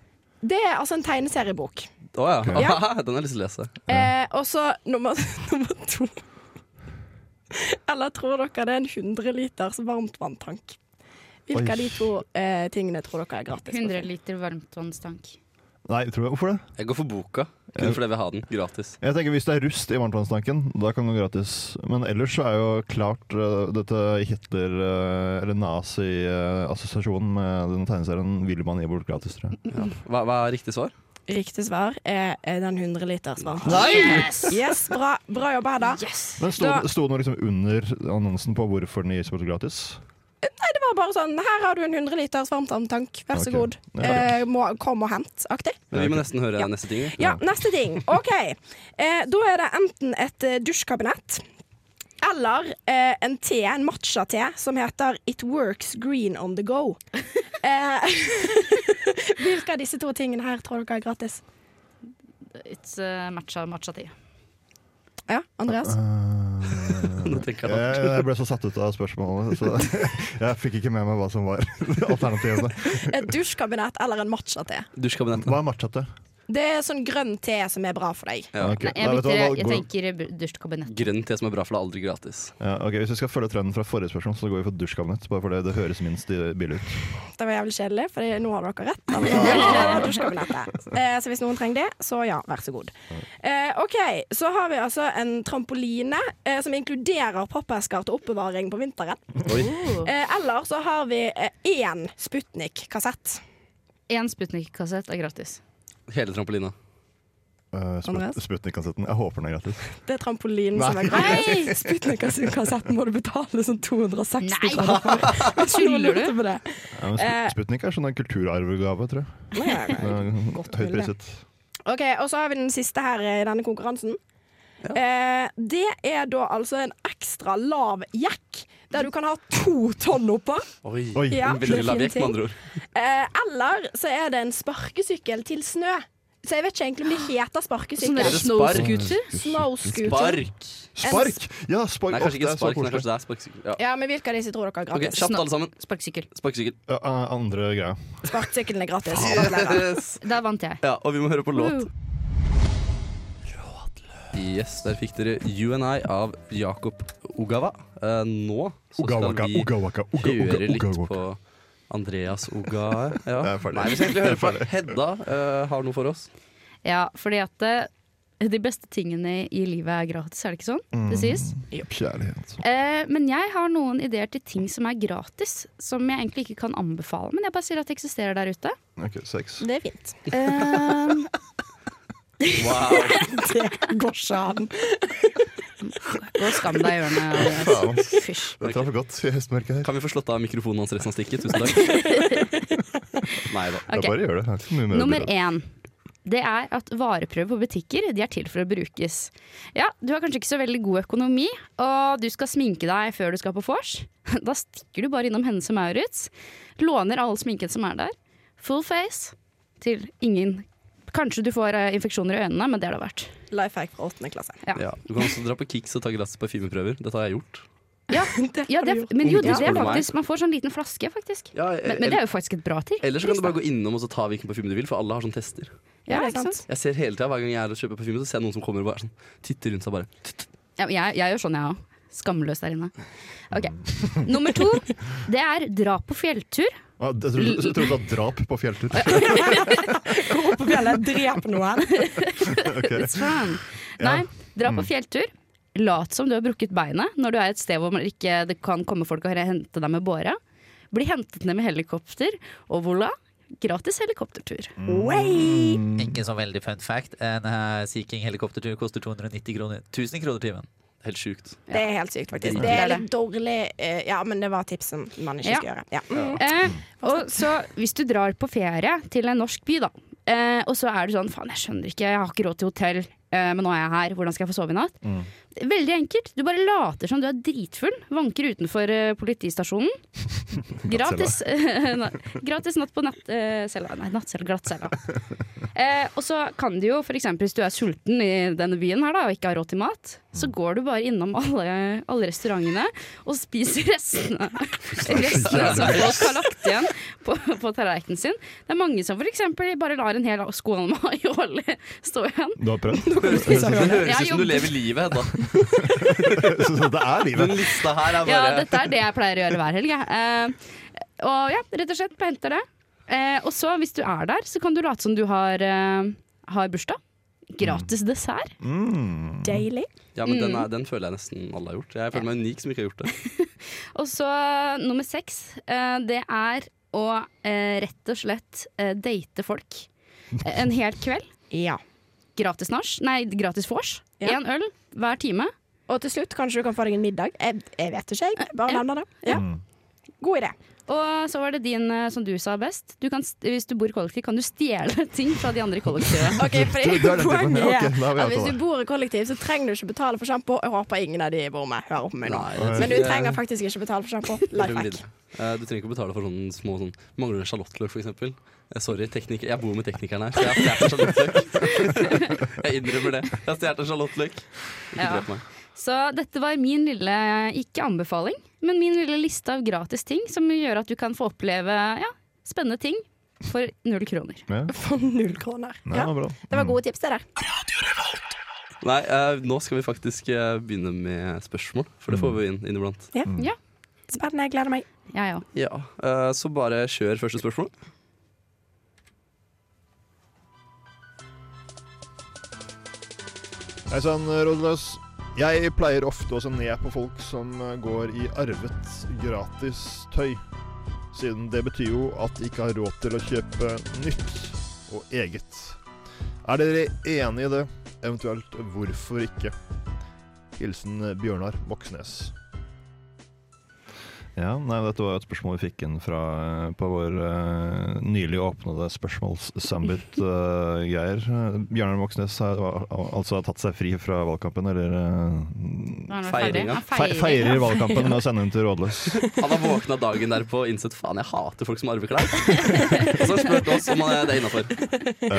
[SPEAKER 5] Det er altså en tegneseriebok.
[SPEAKER 1] Å ja.
[SPEAKER 5] Ja.
[SPEAKER 1] Den har jeg lyst til å lese.
[SPEAKER 5] Eh, og så nummer, nummer to. Eller tror dere det er en 100 liters varmtvanntank? Hvilke
[SPEAKER 4] Oi.
[SPEAKER 5] av de to eh, tingene tror dere er gratis?
[SPEAKER 3] 100 liter varmtvannstank.
[SPEAKER 4] Nei, tror jeg, hvorfor det?
[SPEAKER 1] Jeg går for boka, kun fordi jeg vil ha den gratis.
[SPEAKER 4] Jeg tenker Hvis det er rust i varmtvannstanken, da kan det gå gratis. Men ellers så er jo klart eh, dette Hitler- eh, eller nazi-assosiasjonen med den tegneserien vil man gi bort gratis, tror
[SPEAKER 3] Mm.
[SPEAKER 4] jeg.
[SPEAKER 1] Hva, hva er riktig svar?
[SPEAKER 5] Riktig svar er eh, den 100 liters varmtvanntanken.
[SPEAKER 3] Yes!
[SPEAKER 5] Yes, bra, bra jobba, Hedda.
[SPEAKER 4] Men sto,
[SPEAKER 5] Da-
[SPEAKER 4] sto det noe liksom under annonsen på hvorfor den gis bort gratis?
[SPEAKER 5] Nei, det var bare sånn Her har du en 100 liters varmtvanntank, vær så
[SPEAKER 4] Ok.
[SPEAKER 5] god.
[SPEAKER 4] Ja.
[SPEAKER 5] Eh, må, kom og hent, aktig.
[SPEAKER 1] Men vi må nesten høre neste ting. vi.
[SPEAKER 5] Ja, neste ting. OK. Eh, da er det enten et eh, dusjkabinett eller eh, en te, en matcha-te, som heter It Works Green On The Go. Eh, Hvilke av disse to tingene her tror dere er gratis?
[SPEAKER 3] It's uh, matcha matcha ti.
[SPEAKER 5] Ja, Andreas?
[SPEAKER 1] Nå tenker jeg da.
[SPEAKER 4] Jeg, jeg ble så satt ut av spørsmålet, så jeg fikk ikke med meg hva som var alternativene.
[SPEAKER 5] Et dusjkabinett eller en matcha-te.
[SPEAKER 1] Dusjkabinettet.
[SPEAKER 4] Hva er matchete?
[SPEAKER 5] Det er sånn grønn te som er bra for deg.
[SPEAKER 1] Ja.
[SPEAKER 4] Ok,
[SPEAKER 3] Nei,
[SPEAKER 4] nei,
[SPEAKER 3] jeg,
[SPEAKER 4] vet du hva,
[SPEAKER 3] bytter,
[SPEAKER 4] da
[SPEAKER 3] jeg
[SPEAKER 4] går-
[SPEAKER 3] tenker bu- dusjkabinett.
[SPEAKER 1] Grønn te som er bra, for det er aldri gratis.
[SPEAKER 4] Ja, ok, Hvis vi skal følge trenden fra forrige spørsmål, så går vi for dusjkabinett. Bare fordi det høres minst i- billig ut.
[SPEAKER 5] Det var jævlig kjedelig, for nå har dere rett. Eller dusjkabinettet. Eh, så hvis noen trenger det, så ja, vær så god. Eh, OK, så har vi altså en trampoline eh, som inkluderer pappesker til oppbevaring på vinteren.
[SPEAKER 3] Oh.
[SPEAKER 5] Eh, eller så har vi eh, én Sputnik-kassett.
[SPEAKER 3] Én Sputnik-kassett er gratis.
[SPEAKER 1] Hele trampolina.
[SPEAKER 4] Uh,
[SPEAKER 5] Andreas?
[SPEAKER 4] Sputnik-kassetten. Jeg håper den er gratis.
[SPEAKER 5] Det er trampolinen som er
[SPEAKER 3] Nei!
[SPEAKER 5] gratis. Sputnik-kassetten må du betale sånn 260
[SPEAKER 3] Nei!
[SPEAKER 5] kroner for. Hvis noen
[SPEAKER 3] Tuller du?
[SPEAKER 5] lurte på det.
[SPEAKER 4] Ja, men
[SPEAKER 5] Eh,
[SPEAKER 4] Sp- Sputnik er sånn en kulturarvegave, tror jeg.
[SPEAKER 5] Nei, nei, nei.
[SPEAKER 4] Eh,
[SPEAKER 5] godt
[SPEAKER 4] Høyt
[SPEAKER 5] mulig.
[SPEAKER 4] priset.
[SPEAKER 5] Ok, og så har vi den siste her eh, i denne konkurransen. Eh, det er da altså en ekstra lav jack, der du kan ha to tonn oppå.
[SPEAKER 1] Oi.
[SPEAKER 4] Oi,
[SPEAKER 5] Ja.
[SPEAKER 1] En veldig lav jekk, med andre ord.
[SPEAKER 5] Eh, eller så er det en sparkesykkel til snø. Så jeg vet ikke egentlig om det heter
[SPEAKER 3] Sånn
[SPEAKER 5] sparkesykkel.
[SPEAKER 3] der
[SPEAKER 1] det
[SPEAKER 3] snow
[SPEAKER 1] spark?
[SPEAKER 3] scooter.
[SPEAKER 5] Snowscooter.
[SPEAKER 1] Spark!
[SPEAKER 4] Spark! Ja, spark.
[SPEAKER 1] Nei, kanskje
[SPEAKER 4] Åh, det
[SPEAKER 1] ikke
[SPEAKER 4] er så
[SPEAKER 1] spark. Nei,
[SPEAKER 4] koselig.
[SPEAKER 1] kanskje det er sparkesykkel. Ja.
[SPEAKER 5] Ja, men hvilke av disse tror dere er
[SPEAKER 1] Ok,
[SPEAKER 5] gratis?
[SPEAKER 1] Kjapt, alle sammen.
[SPEAKER 3] Sparkesykkel.
[SPEAKER 1] Sparkesykkel.
[SPEAKER 4] Ja, eh, andre greia.
[SPEAKER 5] Sparkesykkelen er gratis.
[SPEAKER 1] Yes.
[SPEAKER 3] Der vant jeg.
[SPEAKER 1] Ja, og vi må høre på låt.
[SPEAKER 3] Woo.
[SPEAKER 1] Yes, der fikk dere You and I av Jakob Ogawa. Eh, nå så
[SPEAKER 4] Ugawaka,
[SPEAKER 1] skal vi
[SPEAKER 4] ugawaka, uga, uga,
[SPEAKER 1] høre litt
[SPEAKER 4] ugawaka.
[SPEAKER 1] på Andreas Ogae. Ja.
[SPEAKER 4] Jeg er ferdig.
[SPEAKER 1] Nei, vi skal egentlig høre på Hedda eh, har noe for oss.
[SPEAKER 3] Ja, fordi at eh, de beste tingene i livet er gratis, er det ikke sånn? Det sies.
[SPEAKER 4] Kjærlighet.
[SPEAKER 3] Eh, men jeg har noen ideer til ting som er gratis, som jeg egentlig ikke kan anbefale, men jeg bare sier at det eksisterer der ute.
[SPEAKER 4] Ok, sex.
[SPEAKER 5] Det er fint.
[SPEAKER 3] Eh,
[SPEAKER 1] Wow.
[SPEAKER 5] Det går ikke an.
[SPEAKER 3] gå og skam deg i hjørnet.
[SPEAKER 4] Faen, ass.
[SPEAKER 3] Fysj.
[SPEAKER 4] Det traff godt i høstmørket her.
[SPEAKER 1] Kan vi få slått av mikrofonen hans resten av stikket? Tusen takk. Nei da.
[SPEAKER 3] Ok.
[SPEAKER 4] Jeg bare gjør det. Jeg har ikke så mye mer å
[SPEAKER 3] Nummer
[SPEAKER 4] bidra med.
[SPEAKER 3] én. Det er at vareprøver på butikker de er til for å brukes. Ja, Du har kanskje ikke så veldig god økonomi, og du skal sminke deg før du skal på vors. Da stikker du bare innom Hennes og Maurits, låner all sminken som er der, full face, til ingen Kanskje du får eh, infeksjoner i øynene, men det er det verdt.
[SPEAKER 5] Life hack fra åttende klasse.
[SPEAKER 1] Ja. Du kan også dra på Kicks og ta gratis parfymeprøver. Dette har jeg gjort.
[SPEAKER 3] Ja,
[SPEAKER 5] Det
[SPEAKER 3] ja
[SPEAKER 5] har
[SPEAKER 3] det,
[SPEAKER 5] du
[SPEAKER 3] er- men jo, det,
[SPEAKER 1] Ungdom
[SPEAKER 3] det er
[SPEAKER 1] spør meg.
[SPEAKER 3] faktisk Man får sånn liten flaske, faktisk.
[SPEAKER 1] Ja,
[SPEAKER 3] Men, men det er jo faktisk et bra ting.
[SPEAKER 1] Ellers så kan du bare gå innom og så ta hvilken parfyme du vil, for alle har sånn tester.
[SPEAKER 3] Ja,
[SPEAKER 5] Ja,
[SPEAKER 3] ikke sant?
[SPEAKER 1] Jeg ser hele tiden, Hver gang jeg er og kjøper parfyme, så ser jeg noen som kommer og bare sånn, titter rundt seg. bare
[SPEAKER 3] Ja, men jeg, jeg gjør sånn, jeg òg. Skamløs der inne. Ok, Nummer to det er dra på fjelltur.
[SPEAKER 4] Ah, Jeg trodde jeg trodde det var drap på fjelltur.
[SPEAKER 5] Gå opp på fjellet, drep noen.
[SPEAKER 3] It's fun. Sånn. Nei, dra på fjelltur. Lat som du har brukket beinet når du er et sted hvor man ikke, det kan komme folk og hente deg med båre. Bli hentet ned med helikopter, og voilà, gratis helikoptertur.
[SPEAKER 5] Way!
[SPEAKER 6] Ikke så veldig fun fact. En eh, Sea King-helikoptertur koster 290 kroner. 1000 kroner timen.
[SPEAKER 1] Helt sjukt.
[SPEAKER 5] Det er helt sykt, faktisk.
[SPEAKER 1] Ja.
[SPEAKER 5] Det
[SPEAKER 3] Det er
[SPEAKER 5] er
[SPEAKER 3] det.
[SPEAKER 5] litt dårlig eh, Ja, men det var tips som man ikke
[SPEAKER 3] Ja.
[SPEAKER 5] skal gjøre. Ja. Mm.
[SPEAKER 3] Eh, og så hvis du drar på ferie til en norsk by, da, eh, og så er du sånn faen, jeg skjønner ikke, jeg har ikke råd til hotell, eh, men nå er jeg her, hvordan skal jeg få sove i natt? Veldig enkelt. Du bare later som du er dritfull, vanker utenfor eh, politistasjonen. Gratis, na- gratis natt på nattcella. Nei, nattcella, glattcella. Eh, og så kan du jo f.eks. hvis du er sulten i denne byen her da, og ikke har råd til mat, så går du bare innom alle, alle restaurantene og spiser restene. restene som folk har lagt igjen på, på tallerkenen sin. Det er mange som f.eks. bare lar en hel skål med aioli stå igjen.
[SPEAKER 4] Du har prøvd?
[SPEAKER 1] Det høres
[SPEAKER 3] Jeg
[SPEAKER 1] ut som du
[SPEAKER 3] jobbet-
[SPEAKER 1] lever livet, Hedda.
[SPEAKER 4] Så det er livet.
[SPEAKER 1] Den lista her er
[SPEAKER 3] Ja,
[SPEAKER 1] bare
[SPEAKER 3] dette er det jeg pleier å gjøre hver helg. jeg. Eh, og ja, rett og slett på henter det. Eh, og så, hvis du er der, så kan du late som du har, eh, har bursdag. Gratis dessert.
[SPEAKER 5] Deilig.
[SPEAKER 1] Ja, men den, er,
[SPEAKER 3] mm.
[SPEAKER 1] den føler jeg nesten alle har gjort. Jeg føler meg unik som ikke har gjort det.
[SPEAKER 3] Og så nummer seks, eh, det er å eh, rett og slett eh, date folk Eh, en hel kveld.
[SPEAKER 5] Ja.
[SPEAKER 3] Gratis nach, nei, gratis vors.
[SPEAKER 5] Ja.
[SPEAKER 3] Én øl hver time.
[SPEAKER 5] Og til slutt, kanskje du kan få deg en middag. Jeg, jeg vet ikke, jeg. Bare
[SPEAKER 3] Ja.
[SPEAKER 5] nevner det. Ja. God idé.
[SPEAKER 3] Og så var det din, eh, som du sa best. Du kan, st- hvis du bor i kollektiv, kan du stjele ting fra de andre i kollektivet.
[SPEAKER 5] Ok, for
[SPEAKER 4] Du- du er den typen, ja, ok, da har vi
[SPEAKER 5] at
[SPEAKER 4] hatt
[SPEAKER 5] Hvis
[SPEAKER 4] det.
[SPEAKER 5] du bor i kollektiv, så trenger du ikke betale for sjampo. Jeg håper ingen av de bor med. Hører på meg nå.
[SPEAKER 1] Nei, det-
[SPEAKER 5] Men du trenger faktisk ikke betale for sjampo.
[SPEAKER 1] Jeg
[SPEAKER 5] Life
[SPEAKER 1] blir
[SPEAKER 5] hack.
[SPEAKER 1] livredd. Eh, Du trenger ikke å betale for sånne små sånn Mangler du en sjalottløk, for eksempel? Eh, Sorry, tekniker. Jeg bor med teknikeren her, så jeg har stjålet en sjalottløk. jeg innrømmer det. Jeg har stjålet en sjalottløk. Ikke
[SPEAKER 3] Ja.
[SPEAKER 1] drep meg.
[SPEAKER 3] Så dette var min lille, ikke anbefaling, men min lille liste av gratis ting som gjør at du kan få oppleve ja, spennende ting for null kroner.
[SPEAKER 4] Ja.
[SPEAKER 5] For null kroner.
[SPEAKER 4] Nei,
[SPEAKER 5] Ja.
[SPEAKER 4] det var bra.
[SPEAKER 5] Det var gode tips, det der.
[SPEAKER 1] Nei, eh, nå skal vi faktisk eh, begynne med spørsmål, for det får vi inn inniblant.
[SPEAKER 5] Ja.
[SPEAKER 3] Ja.
[SPEAKER 5] Spennende. Jeg gleder meg.
[SPEAKER 3] Jeg òg.
[SPEAKER 1] Ja, eh, så bare kjør første spørsmål.
[SPEAKER 4] Hei sann, rådløs. Jeg pleier ofte å se ned på folk som går i arvet gratis tøy. Siden det betyr jo at de ikke har råd til å kjøpe nytt og eget. Er dere enig i det? Eventuelt hvorfor ikke? Hilsen Bjørnar Moxnes. Ja, nei, Dette var jo et spørsmål vi fikk inn fra, på vår eh, nylig åpnede spørsmåls-sambit-greier. Bjørnar Moxnes har har- har altså tatt seg fri fra valgkampen, eller eh,
[SPEAKER 1] Feiring, ja.
[SPEAKER 4] fe feirer valgkampen med å sende den til rådløs.
[SPEAKER 1] Han har våkna dagen derpå og innsett faen, jeg hater folk som arver klær. og så har han spurt oss om eh, det er innafor.
[SPEAKER 5] Jeg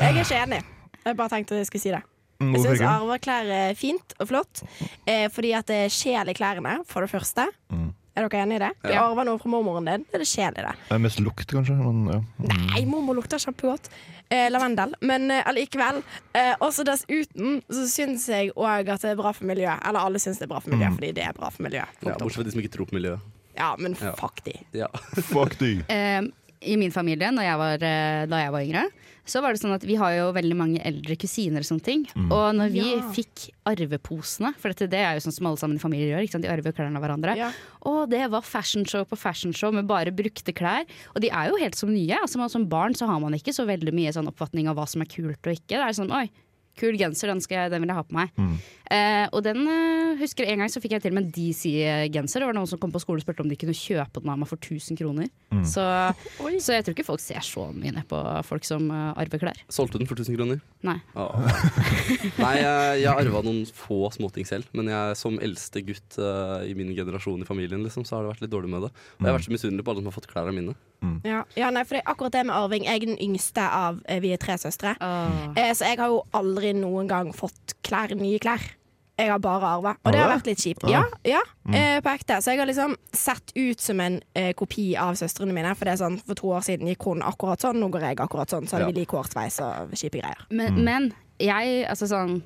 [SPEAKER 5] er ikke enig. Jeg bare tenkte jeg skulle si det.
[SPEAKER 4] Mm,
[SPEAKER 5] Jeg
[SPEAKER 4] Hvorfor
[SPEAKER 5] syns
[SPEAKER 4] ikke?
[SPEAKER 5] arveklær er fint og flott, eh, fordi at det er sjel i klærne, for det første. Er dere enige i det? Vi
[SPEAKER 1] Ja.
[SPEAKER 5] arver noe fra mormoren din. Det er det sjel i det.
[SPEAKER 4] Det er mest lukt, kanskje. Men, ja.
[SPEAKER 5] Nei, mormor lukter kjempegodt. Eh, lavendel. Men eh, allikevel. Eh, også dessuten så syns jeg òg at det er bra for miljøet. Eller alle syns det er bra for miljøet, fordi det er bra for miljøet.
[SPEAKER 1] Ja,
[SPEAKER 5] Punktum.
[SPEAKER 1] bortsett fra de som ikke tror på miljøet.
[SPEAKER 5] Ja, men
[SPEAKER 1] Ja.
[SPEAKER 5] fuck de.
[SPEAKER 1] Ja.
[SPEAKER 4] Fuck de.
[SPEAKER 3] Eh, I min familie, når jeg var, eh, da jeg var yngre, så var det sånn at vi har jo veldig mange eldre kusiner og sånne ting.
[SPEAKER 1] Mm.
[SPEAKER 3] Og når vi
[SPEAKER 5] Ja.
[SPEAKER 3] fikk arveposene, for dette, det er jo sånn som alle sammen i familier gjør, ikke sant? de arver klærne av hverandre.
[SPEAKER 5] Ja.
[SPEAKER 3] Og det var fashionshow på fashionshow med bare brukte klær. Og de er jo helt som nye. Altså, man, som barn så har man ikke så veldig mye sånn oppfatning av hva som er kult og ikke. Det er sånn oi, kul genser, den, skal jeg, den vil jeg ha på meg. Eh, og den eh, husker jeg en gang så fikk jeg til og med en DC-genser. Det var noen som kom på skolen og spurte om de kunne kjøpe den av meg for 1000 kroner. Så,
[SPEAKER 5] Oi.
[SPEAKER 3] så jeg tror ikke folk ser så mye ned på folk som eh, arver klær.
[SPEAKER 1] Solgte den for 1000 kroner.
[SPEAKER 3] Nei.
[SPEAKER 1] Nei, jeg, jeg arva noen få småting selv, men jeg som eldste gutt eh, i min generasjon i familien, liksom, så har det vært litt dårlig med det. Og jeg har vært så misunnelig på alle som har fått klær av mine.
[SPEAKER 5] Ja. ja, nei, for det er akkurat det med arving. Jeg er den yngste av eh, vi er tre søstre.
[SPEAKER 3] Åh.
[SPEAKER 5] Eh, så jeg har jo aldri noen gang fått klær, nye klær. Jeg har bare arva. Og det har vært litt kjipt. Ja, ja eh, på ekte. Så jeg har liksom sett ut som en eh, kopi av søstrene mine. For det er sånn, for to år siden gikk hun akkurat sånn, nå går jeg akkurat sånn. Så hadde
[SPEAKER 4] Ja.
[SPEAKER 5] vi lik hårsveis og kjipe greier.
[SPEAKER 3] Men, men jeg, altså sånn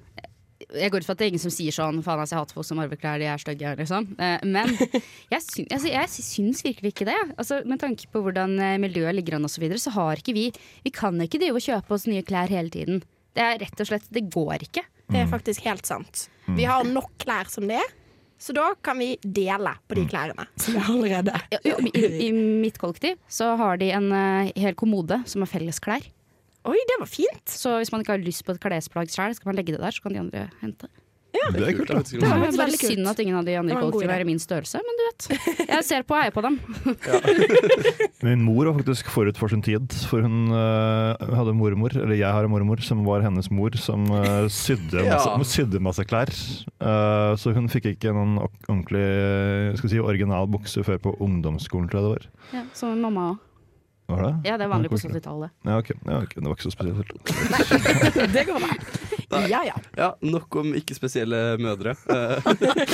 [SPEAKER 3] jeg går ut fra at det er ingen som sier sånn Faen, altså, jeg hater folk som arver klær, de er stygge, liksom. Eh, men jeg, syn, altså, jeg syns virkelig ikke det. Altså, med tanke på hvordan eh, miljøet ligger an og så videre, så har ikke vi Vi kan ikke drive og kjøpe oss nye klær hele tiden. Det er rett og slett Det går ikke.
[SPEAKER 5] Det er faktisk helt sant. Vi har nok klær som det er. Så da kan vi dele på de klærne som vi har allerede.
[SPEAKER 3] Ja, i, i, I mitt kollektiv så har de en eh, hel kommode som er fellesklær.
[SPEAKER 5] Oi, det var fint.
[SPEAKER 3] Så hvis man ikke har lyst på et klesplagg sjøl, skal man legge det der, så kan de andre hente.
[SPEAKER 4] Det er kult, da.
[SPEAKER 1] faktisk.
[SPEAKER 3] Det
[SPEAKER 5] var
[SPEAKER 3] var
[SPEAKER 5] faktisk
[SPEAKER 3] bare
[SPEAKER 5] veldig kult.
[SPEAKER 3] synd at ingen av de andre
[SPEAKER 5] Det
[SPEAKER 3] i
[SPEAKER 5] var en god
[SPEAKER 3] kollektivet
[SPEAKER 5] idé.
[SPEAKER 3] er i min størrelse, men du vet. Jeg ser på og heier på dem.
[SPEAKER 4] Min mor var faktisk forut for sin tid, for hun eh, hadde mormor, eller jeg har en mormor, som var hennes mor, som eh, sydde,
[SPEAKER 1] Ja.
[SPEAKER 4] masse, sydde masse klær. Eh, så hun fikk ikke noen ok- ordentlig eh, skal vi si, original bukse før på ungdomsskolen, tror jeg det var.
[SPEAKER 3] Ja, som mamma òg.
[SPEAKER 4] Var det?
[SPEAKER 3] Ja, det er vanlig på
[SPEAKER 4] koselig.
[SPEAKER 3] 70-tallet.
[SPEAKER 4] Ja, ok. Ja, ok. Det var ikke så spesielt.
[SPEAKER 5] Det går bra. Ja, ja.
[SPEAKER 1] Ja, nok om ikke spesielle mødre. Eh,
[SPEAKER 4] Halla,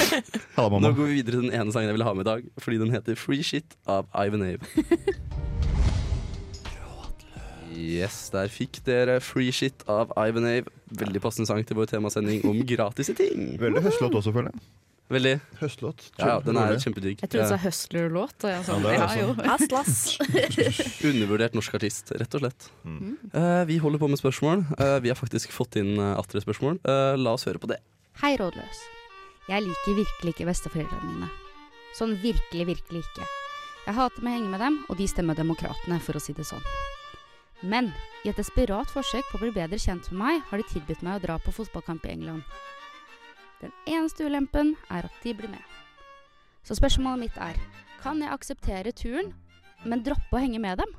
[SPEAKER 1] nå
[SPEAKER 4] mamma.
[SPEAKER 1] går vi videre til den ene sangen jeg ville ha med i dag, fordi den heter Free Shit av Ivan Ave. Yes, der fikk dere Free Shit av Ivan Ave. Veldig passende sang til vår temasending om gratise ting.
[SPEAKER 4] Veldig høstlåt også, føler jeg.
[SPEAKER 1] Veldig.
[SPEAKER 4] Høstlåt.
[SPEAKER 1] Ja, ja, den er
[SPEAKER 4] Rolig.
[SPEAKER 1] kjempedigg.
[SPEAKER 3] Jeg trodde du
[SPEAKER 1] Eh,
[SPEAKER 3] sa Hustler-låt. og jeg sa,
[SPEAKER 4] Ja, det er
[SPEAKER 3] Ja,
[SPEAKER 4] også.
[SPEAKER 3] jo.
[SPEAKER 5] Atlas.
[SPEAKER 1] Undervurdert norsk artist, rett og slett.
[SPEAKER 5] Mm.
[SPEAKER 1] Eh, vi holder på med spørsmål. Eh, vi har faktisk fått inn uh, atter et spørsmål. Eh, la oss høre på det.
[SPEAKER 7] Hei, rådløs. Jeg liker virkelig ikke besteforeldrene mine. Sånn virkelig, virkelig ikke. Jeg hater meg å henge med dem, og de stemmer demokratene, for å si det sånn. Men i et desperat forsøk på å bli bedre kjent med meg, har de tilbudt meg å dra på fotballkamp i England. Den eneste ulempen er at de blir med. Så spørsmålet mitt er, kan jeg akseptere turen, men droppe å henge med dem?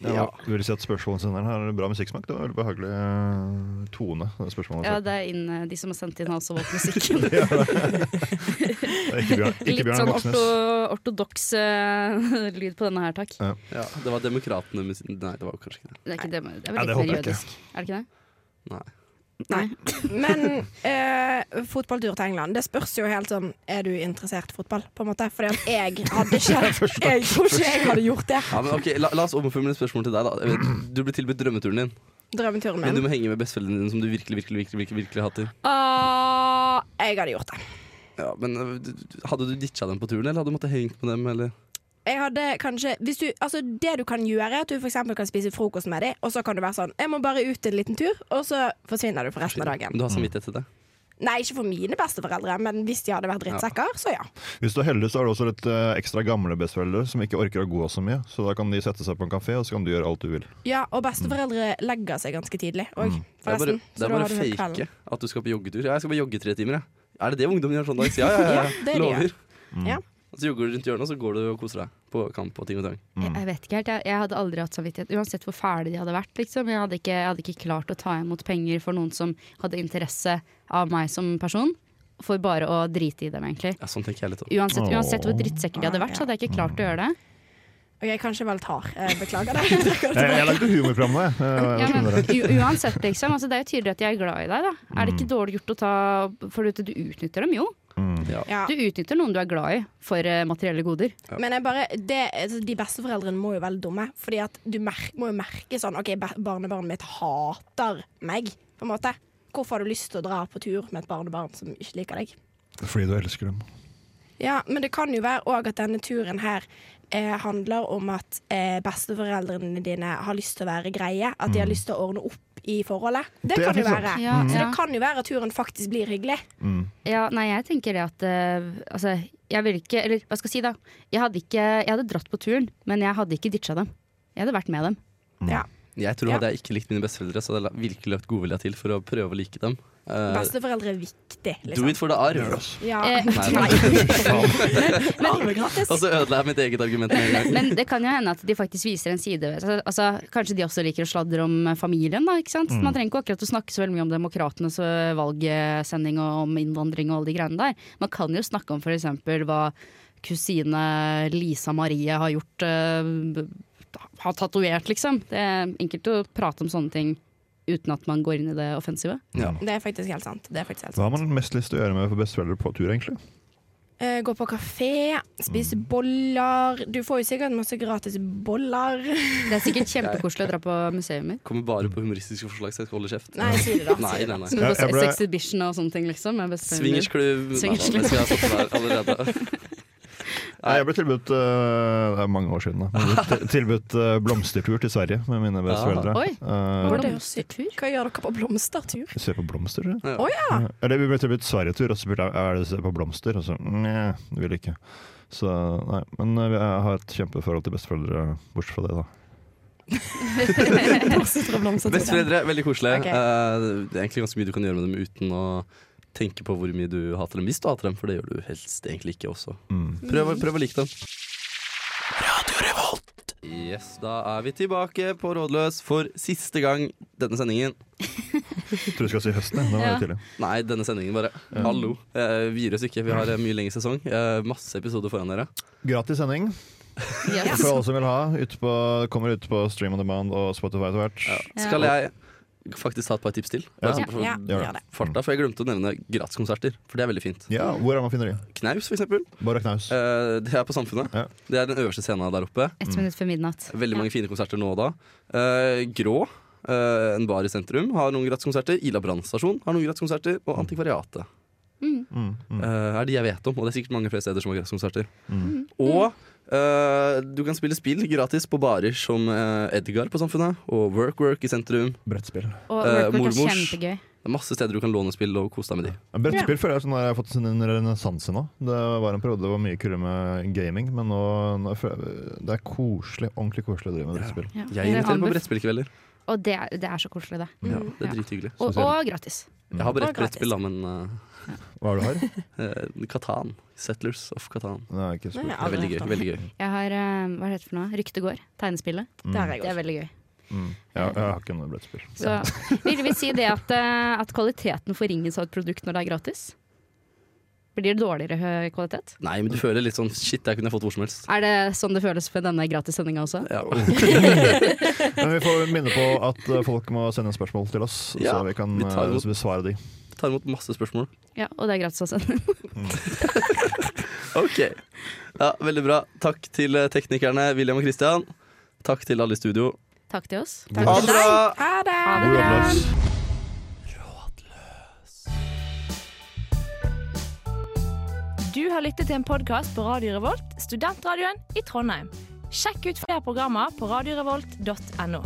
[SPEAKER 4] Ja. Vil si at spørsmålssenderen har bra musikksmak. Det var veldig behagelig eh, tone. Det spørsmålet. altså.
[SPEAKER 3] Ja, det er inn, eh, de som har sendt inn House of Music.
[SPEAKER 4] Det er ikke Bjørn, ikke
[SPEAKER 3] Litt
[SPEAKER 4] Bjørn
[SPEAKER 3] sånn
[SPEAKER 4] Voksnes.
[SPEAKER 3] orto, ortodoks eh, lyd på denne her, takk.
[SPEAKER 1] Ja, det var Demokratene mus- Nei, det var jo kanskje ikke det.
[SPEAKER 3] Det er ikke det, det er vel
[SPEAKER 4] Nei, det
[SPEAKER 3] litt
[SPEAKER 4] håper
[SPEAKER 3] mer
[SPEAKER 4] jeg ikke.
[SPEAKER 3] jødisk. Er det ikke det?
[SPEAKER 1] Nei.
[SPEAKER 5] Nei. Men eh, fotballtur til England, det spørs jo helt sånn Er du interessert i fotball, på en måte? Fordi at jeg hadde ikke Jeg tror ikke jeg hadde gjort det.
[SPEAKER 1] Ja, men ok, La, la oss omformulere spørsmålet til deg. da Jeg vet, Du ble tilbudt drømmeturen din,
[SPEAKER 5] Drømmeturen
[SPEAKER 1] men du
[SPEAKER 5] min.
[SPEAKER 1] må henge med besteforeldrene dine, som du virkelig virkelig, virkelig, virkelig, virkelig hater.
[SPEAKER 5] Ah, jeg hadde gjort det.
[SPEAKER 1] Ja, men eh, du- du- Hadde du ditcha dem på turen, eller hadde du måttet hengt med dem? Eller?
[SPEAKER 5] Jeg hadde kanskje hvis du, altså Det du kan gjøre, er at du for eksempel kan spise frokost med dem, og så kan du være sånn 'Jeg må bare ut en liten tur', og så forsvinner du for resten av
[SPEAKER 1] Men
[SPEAKER 5] dagen.
[SPEAKER 1] du har samvittighet til det?
[SPEAKER 5] Nei, ikke for mine besteforeldre, men hvis de hadde vært drittsekker, så ja.
[SPEAKER 4] Hvis du er heldig, så er det også litt eh, ekstra gamle besteforeldre som ikke orker å gå så mye. Så da kan de sette seg på en kafé, og så kan du gjøre alt du vil.
[SPEAKER 5] Ja, Og besteforeldre legger seg ganske tidlig òg,
[SPEAKER 1] Det er bare,
[SPEAKER 5] forresten.
[SPEAKER 1] det
[SPEAKER 5] Så
[SPEAKER 1] er
[SPEAKER 5] Mm. da
[SPEAKER 1] bare
[SPEAKER 5] har du hørt kvelden.
[SPEAKER 1] fake at du skal på joggetur. Ja, jeg skal bare jogge i tre timer, jeg. Er det det ungdommen gjør sånn dags? Ja, ja, ja.
[SPEAKER 5] Ja, det er det de
[SPEAKER 1] Lover.
[SPEAKER 5] Ja.
[SPEAKER 1] Og så jogger du rundt hjørnet, og så går du og koser deg på kamp og ting og tang.
[SPEAKER 4] Mm.
[SPEAKER 3] Jeg, jeg vet ikke helt. Jeg, jeg hadde aldri hatt samvittighet, uansett hvor fæle de hadde vært. Liksom. Jeg, hadde ikke, jeg hadde ikke klart å ta imot penger for noen som hadde interesse av meg som person, for bare å drite i dem, egentlig.
[SPEAKER 1] Ja, sånn tenker jeg litt om.
[SPEAKER 3] Uansett,
[SPEAKER 4] Åh.
[SPEAKER 3] uansett hvor drittsekker de hadde vært, så hadde jeg ikke klart å gjøre det.
[SPEAKER 5] Ok, kanskje jeg var litt hard. Jeg beklager det.
[SPEAKER 4] Jeg, jeg lagde humorprogram nå, jeg. Eh, jeg Mm.
[SPEAKER 3] Ja, men,
[SPEAKER 4] skjønner det.
[SPEAKER 3] u- uansett, liksom. Altså, det er jo tydelig at jeg er glad i deg, da. Er det ikke dårlig gjort å ta For du vet, du utnytter dem jo.
[SPEAKER 4] Mm.
[SPEAKER 5] Ja.
[SPEAKER 3] Du utnytter noen du er glad i, for eh, materielle goder.
[SPEAKER 5] Men jeg bare, det, altså, de besteforeldrene må jo være dumme. Fordi at du mer, må jo merke sånn OK, ba- barnebarnet mitt hater meg, på en måte. Hvorfor har du lyst til å dra på tur med et barnebarn som ikke liker deg?
[SPEAKER 8] Fordi du elsker dem.
[SPEAKER 5] Ja, men det kan jo være òg at denne turen her eh, handler om at eh, besteforeldrene dine har lyst til å være greie. At
[SPEAKER 8] Mm.
[SPEAKER 5] de har lyst til å ordne opp i forholdet. Det,
[SPEAKER 4] Det er
[SPEAKER 5] kan jo
[SPEAKER 4] faktisk
[SPEAKER 5] være.
[SPEAKER 3] sant. Ja,
[SPEAKER 5] Så
[SPEAKER 3] ja.
[SPEAKER 5] det kan jo være at turen faktisk blir hyggelig.
[SPEAKER 4] Mm.
[SPEAKER 3] Ja, nei, jeg tenker det at eh, Altså, jeg ville ikke Eller hva skal jeg si, da? Jeg hadde ikke Jeg hadde dratt på turen, men jeg hadde ikke ditcha dem. Jeg hadde vært med dem.
[SPEAKER 8] Mm.
[SPEAKER 1] Jeg tror
[SPEAKER 5] Ja.
[SPEAKER 1] Hadde jeg ikke likt mine besteforeldre, så hadde jeg la- virkelig lagt godvilja til for å prøve å like dem. Eh,
[SPEAKER 5] Besteforeldre er viktig,
[SPEAKER 1] do
[SPEAKER 5] liksom.
[SPEAKER 1] it for the arv.
[SPEAKER 5] Ja.
[SPEAKER 3] Eh,
[SPEAKER 1] Nei, Altså-
[SPEAKER 5] Nei.
[SPEAKER 3] men,
[SPEAKER 1] Og så ødela jeg mitt eget argument med en gang.
[SPEAKER 3] men det kan jo hende at de faktisk viser en side altså, altså, Kanskje de også liker å sladre om eh, familien, da. Ikke
[SPEAKER 4] Mm.
[SPEAKER 3] sant? Man trenger ikke akkurat å snakke så veldig mye om demokratenes eh, valgsending og om innvandring og alle de greiene der. Man kan jo snakke om f.eks. hva kusine Lisa Marie har gjort. eh, har tatovert, liksom. Det er enkelt å prate om sånne ting uten at man går inn i det offensive.
[SPEAKER 5] Det er faktisk helt sant. Det er faktisk helt sant.
[SPEAKER 4] Hva har man mest lyst til å gjøre med for besteforeldre på tur, egentlig?
[SPEAKER 5] Eh, gå på kafé, spise
[SPEAKER 4] Mm.
[SPEAKER 5] boller. Du får jo sikkert masse gratis boller.
[SPEAKER 3] Det er sikkert kjempekoselig å dra på museum.
[SPEAKER 1] Kommer bare på humoristiske forslag, så jeg skal holde kjeft.
[SPEAKER 5] Nei, si det, da.
[SPEAKER 1] Nei,
[SPEAKER 5] Si det.
[SPEAKER 1] nei, nei.
[SPEAKER 3] Som
[SPEAKER 4] Jeg-
[SPEAKER 3] på
[SPEAKER 4] jeg ble-
[SPEAKER 3] sex exhibition og sånne ting, liksom. med besteforeldrene.
[SPEAKER 1] Swingersklubb. Nei, da,
[SPEAKER 3] Swingersklubb.
[SPEAKER 1] det skal jeg ha fått der allerede.
[SPEAKER 4] Nei, jeg ble tilbudt øh, Det er mange år siden, da. men jeg ble til- Tilbudt øh, blomstertur til Sverige med mine besteforeldre.
[SPEAKER 3] Ah. Oi.
[SPEAKER 4] Eh,
[SPEAKER 5] Var det jo sykt?
[SPEAKER 3] Blomstertur?
[SPEAKER 5] Hva gjør dere på blomstertur?
[SPEAKER 4] Se på blomster, tror jeg.
[SPEAKER 1] Ja.
[SPEAKER 5] Å, ja.
[SPEAKER 4] Eller vi ble tilbudt Sverigetur, og så spurte jeg er det å se på blomster. Og så nei, det vil jeg ikke. Så nei, Men eh, jeg har et kjempeforhold til besteforeldre, bortsett fra det, da.
[SPEAKER 5] Blomstertur og blomstertur.
[SPEAKER 1] Besteforeldre, veldig koselig.
[SPEAKER 5] Ok.
[SPEAKER 1] Eh, det er egentlig ganske mye du kan gjøre med dem uten å tenke på hvor mye du hater dem, hvis du hater dem, for det gjør du helst egentlig ikke også.
[SPEAKER 4] Mm.
[SPEAKER 1] Prøv, å- prøv å like dem. Yes, da er vi tilbake på Rådløs for siste gang denne sendingen.
[SPEAKER 4] Jeg tror du skal si høsten, ja. Da var det tidlig.
[SPEAKER 1] Nei, denne sendingen bare. Hallo. Eh, vi gir oss ikke, vi har en mye lengre sesong. Eh, masse episoder foran dere.
[SPEAKER 4] Gratis sending
[SPEAKER 3] Yes.
[SPEAKER 4] for alle som vil ha. Ute på, kommer ut på Stream on Demand og Spotify etter hvert.
[SPEAKER 1] Skal jeg faktisk ta et par tips til? Bare
[SPEAKER 4] Ja.
[SPEAKER 1] sånn på
[SPEAKER 5] Ja,
[SPEAKER 4] Gjør
[SPEAKER 5] gjør det.
[SPEAKER 1] Farta, for jeg glemte å nevne gratiskonserter, for det er veldig fint.
[SPEAKER 4] Ja, Hvor er man finner de?
[SPEAKER 1] Knaus, for eksempel.
[SPEAKER 4] Bare knaus.
[SPEAKER 1] Eh, det er på Samfunnet.
[SPEAKER 4] Ja.
[SPEAKER 1] Det er den øverste scenen der oppe.
[SPEAKER 3] Ett minutt før midnatt.
[SPEAKER 1] Mm. Veldig mange fine konserter nå og da. Eh, Grå, eh, en bar i sentrum, har noen gratiskonserter. Ila Brann stasjon har noen gratiskonserter. Og Antikvariatet
[SPEAKER 4] Mm, mm.
[SPEAKER 1] eh, er de jeg vet om. Og det er sikkert mange flere steder som har gratiskonserter. Og eh, du kan spille spill gratis på barer som eh, Edgar på Samfunnet og Work Work i sentrum.
[SPEAKER 4] Brettspill.
[SPEAKER 3] Og
[SPEAKER 1] Eh,
[SPEAKER 3] workbook er
[SPEAKER 1] mormors.
[SPEAKER 3] kjempegøy.
[SPEAKER 1] Det er masse steder du kan låne spill og kose deg med de.
[SPEAKER 4] Ja, Brettspill føler jeg sånn der, jeg har fått sin en renessanse nå. Det var en periode det var mye kulere med gaming, men nå, nå føler jeg, det er koselig, ordentlig koselig å drive med brettspill.
[SPEAKER 3] Ja.
[SPEAKER 1] Jeg
[SPEAKER 3] Eller
[SPEAKER 1] inviterer på
[SPEAKER 3] Hamburg.
[SPEAKER 1] brettspillkvelder.
[SPEAKER 3] Og det er, det er så koselig, det.
[SPEAKER 1] Ja, det
[SPEAKER 3] Ja.
[SPEAKER 1] er drithygelig.
[SPEAKER 3] Og, og gratis.
[SPEAKER 1] Jeg har brett,
[SPEAKER 5] Og gratis.
[SPEAKER 1] brettspill, da, men eh,
[SPEAKER 4] Hva er det du har?
[SPEAKER 1] eh, Katan. Settlers of Katan.
[SPEAKER 4] Det er ikke spilt.
[SPEAKER 1] Det er veldig gøy. veldig gøy
[SPEAKER 3] Jeg har eh, hva er det heter for noe? Ryktet går. Tegnespillet.
[SPEAKER 5] Der er jeg
[SPEAKER 3] Det er
[SPEAKER 5] også.
[SPEAKER 3] veldig gøy.
[SPEAKER 4] Mm. Jeg, jeg har ikke noe brettspill.
[SPEAKER 3] Så vil vi si det at, eh, at kvaliteten forringes av et produkt når det er gratis? Blir det dårligere hø- kvalitet?
[SPEAKER 1] Nei, men du føler litt sånn Shit, det her kunne jeg fått hvor som helst.
[SPEAKER 3] Er det sånn det føles for denne gratissendinga også?
[SPEAKER 1] Ja.
[SPEAKER 4] Men vi får minne på at eh, folk må sende spørsmål til oss,
[SPEAKER 1] Ja,
[SPEAKER 4] så vi kan
[SPEAKER 1] vi tar
[SPEAKER 4] eh,
[SPEAKER 1] imot.
[SPEAKER 4] besvare de.
[SPEAKER 1] Tar imot masse spørsmål.
[SPEAKER 3] Ja, og det er gratis å sende.
[SPEAKER 1] Ok. Ja, Veldig bra. Takk til eh, teknikerne William og Christian. Takk til alle i studio.
[SPEAKER 3] Takk til oss.
[SPEAKER 1] Ha det bra!
[SPEAKER 5] Ha det!
[SPEAKER 3] Ha det
[SPEAKER 4] God
[SPEAKER 3] bra.
[SPEAKER 4] jobb, Lars.
[SPEAKER 9] Du har lyttet til en podkast på Radio Revolt, studentradioen i Trondheim. Sjekk ut flere programmer på radiorevolt.no.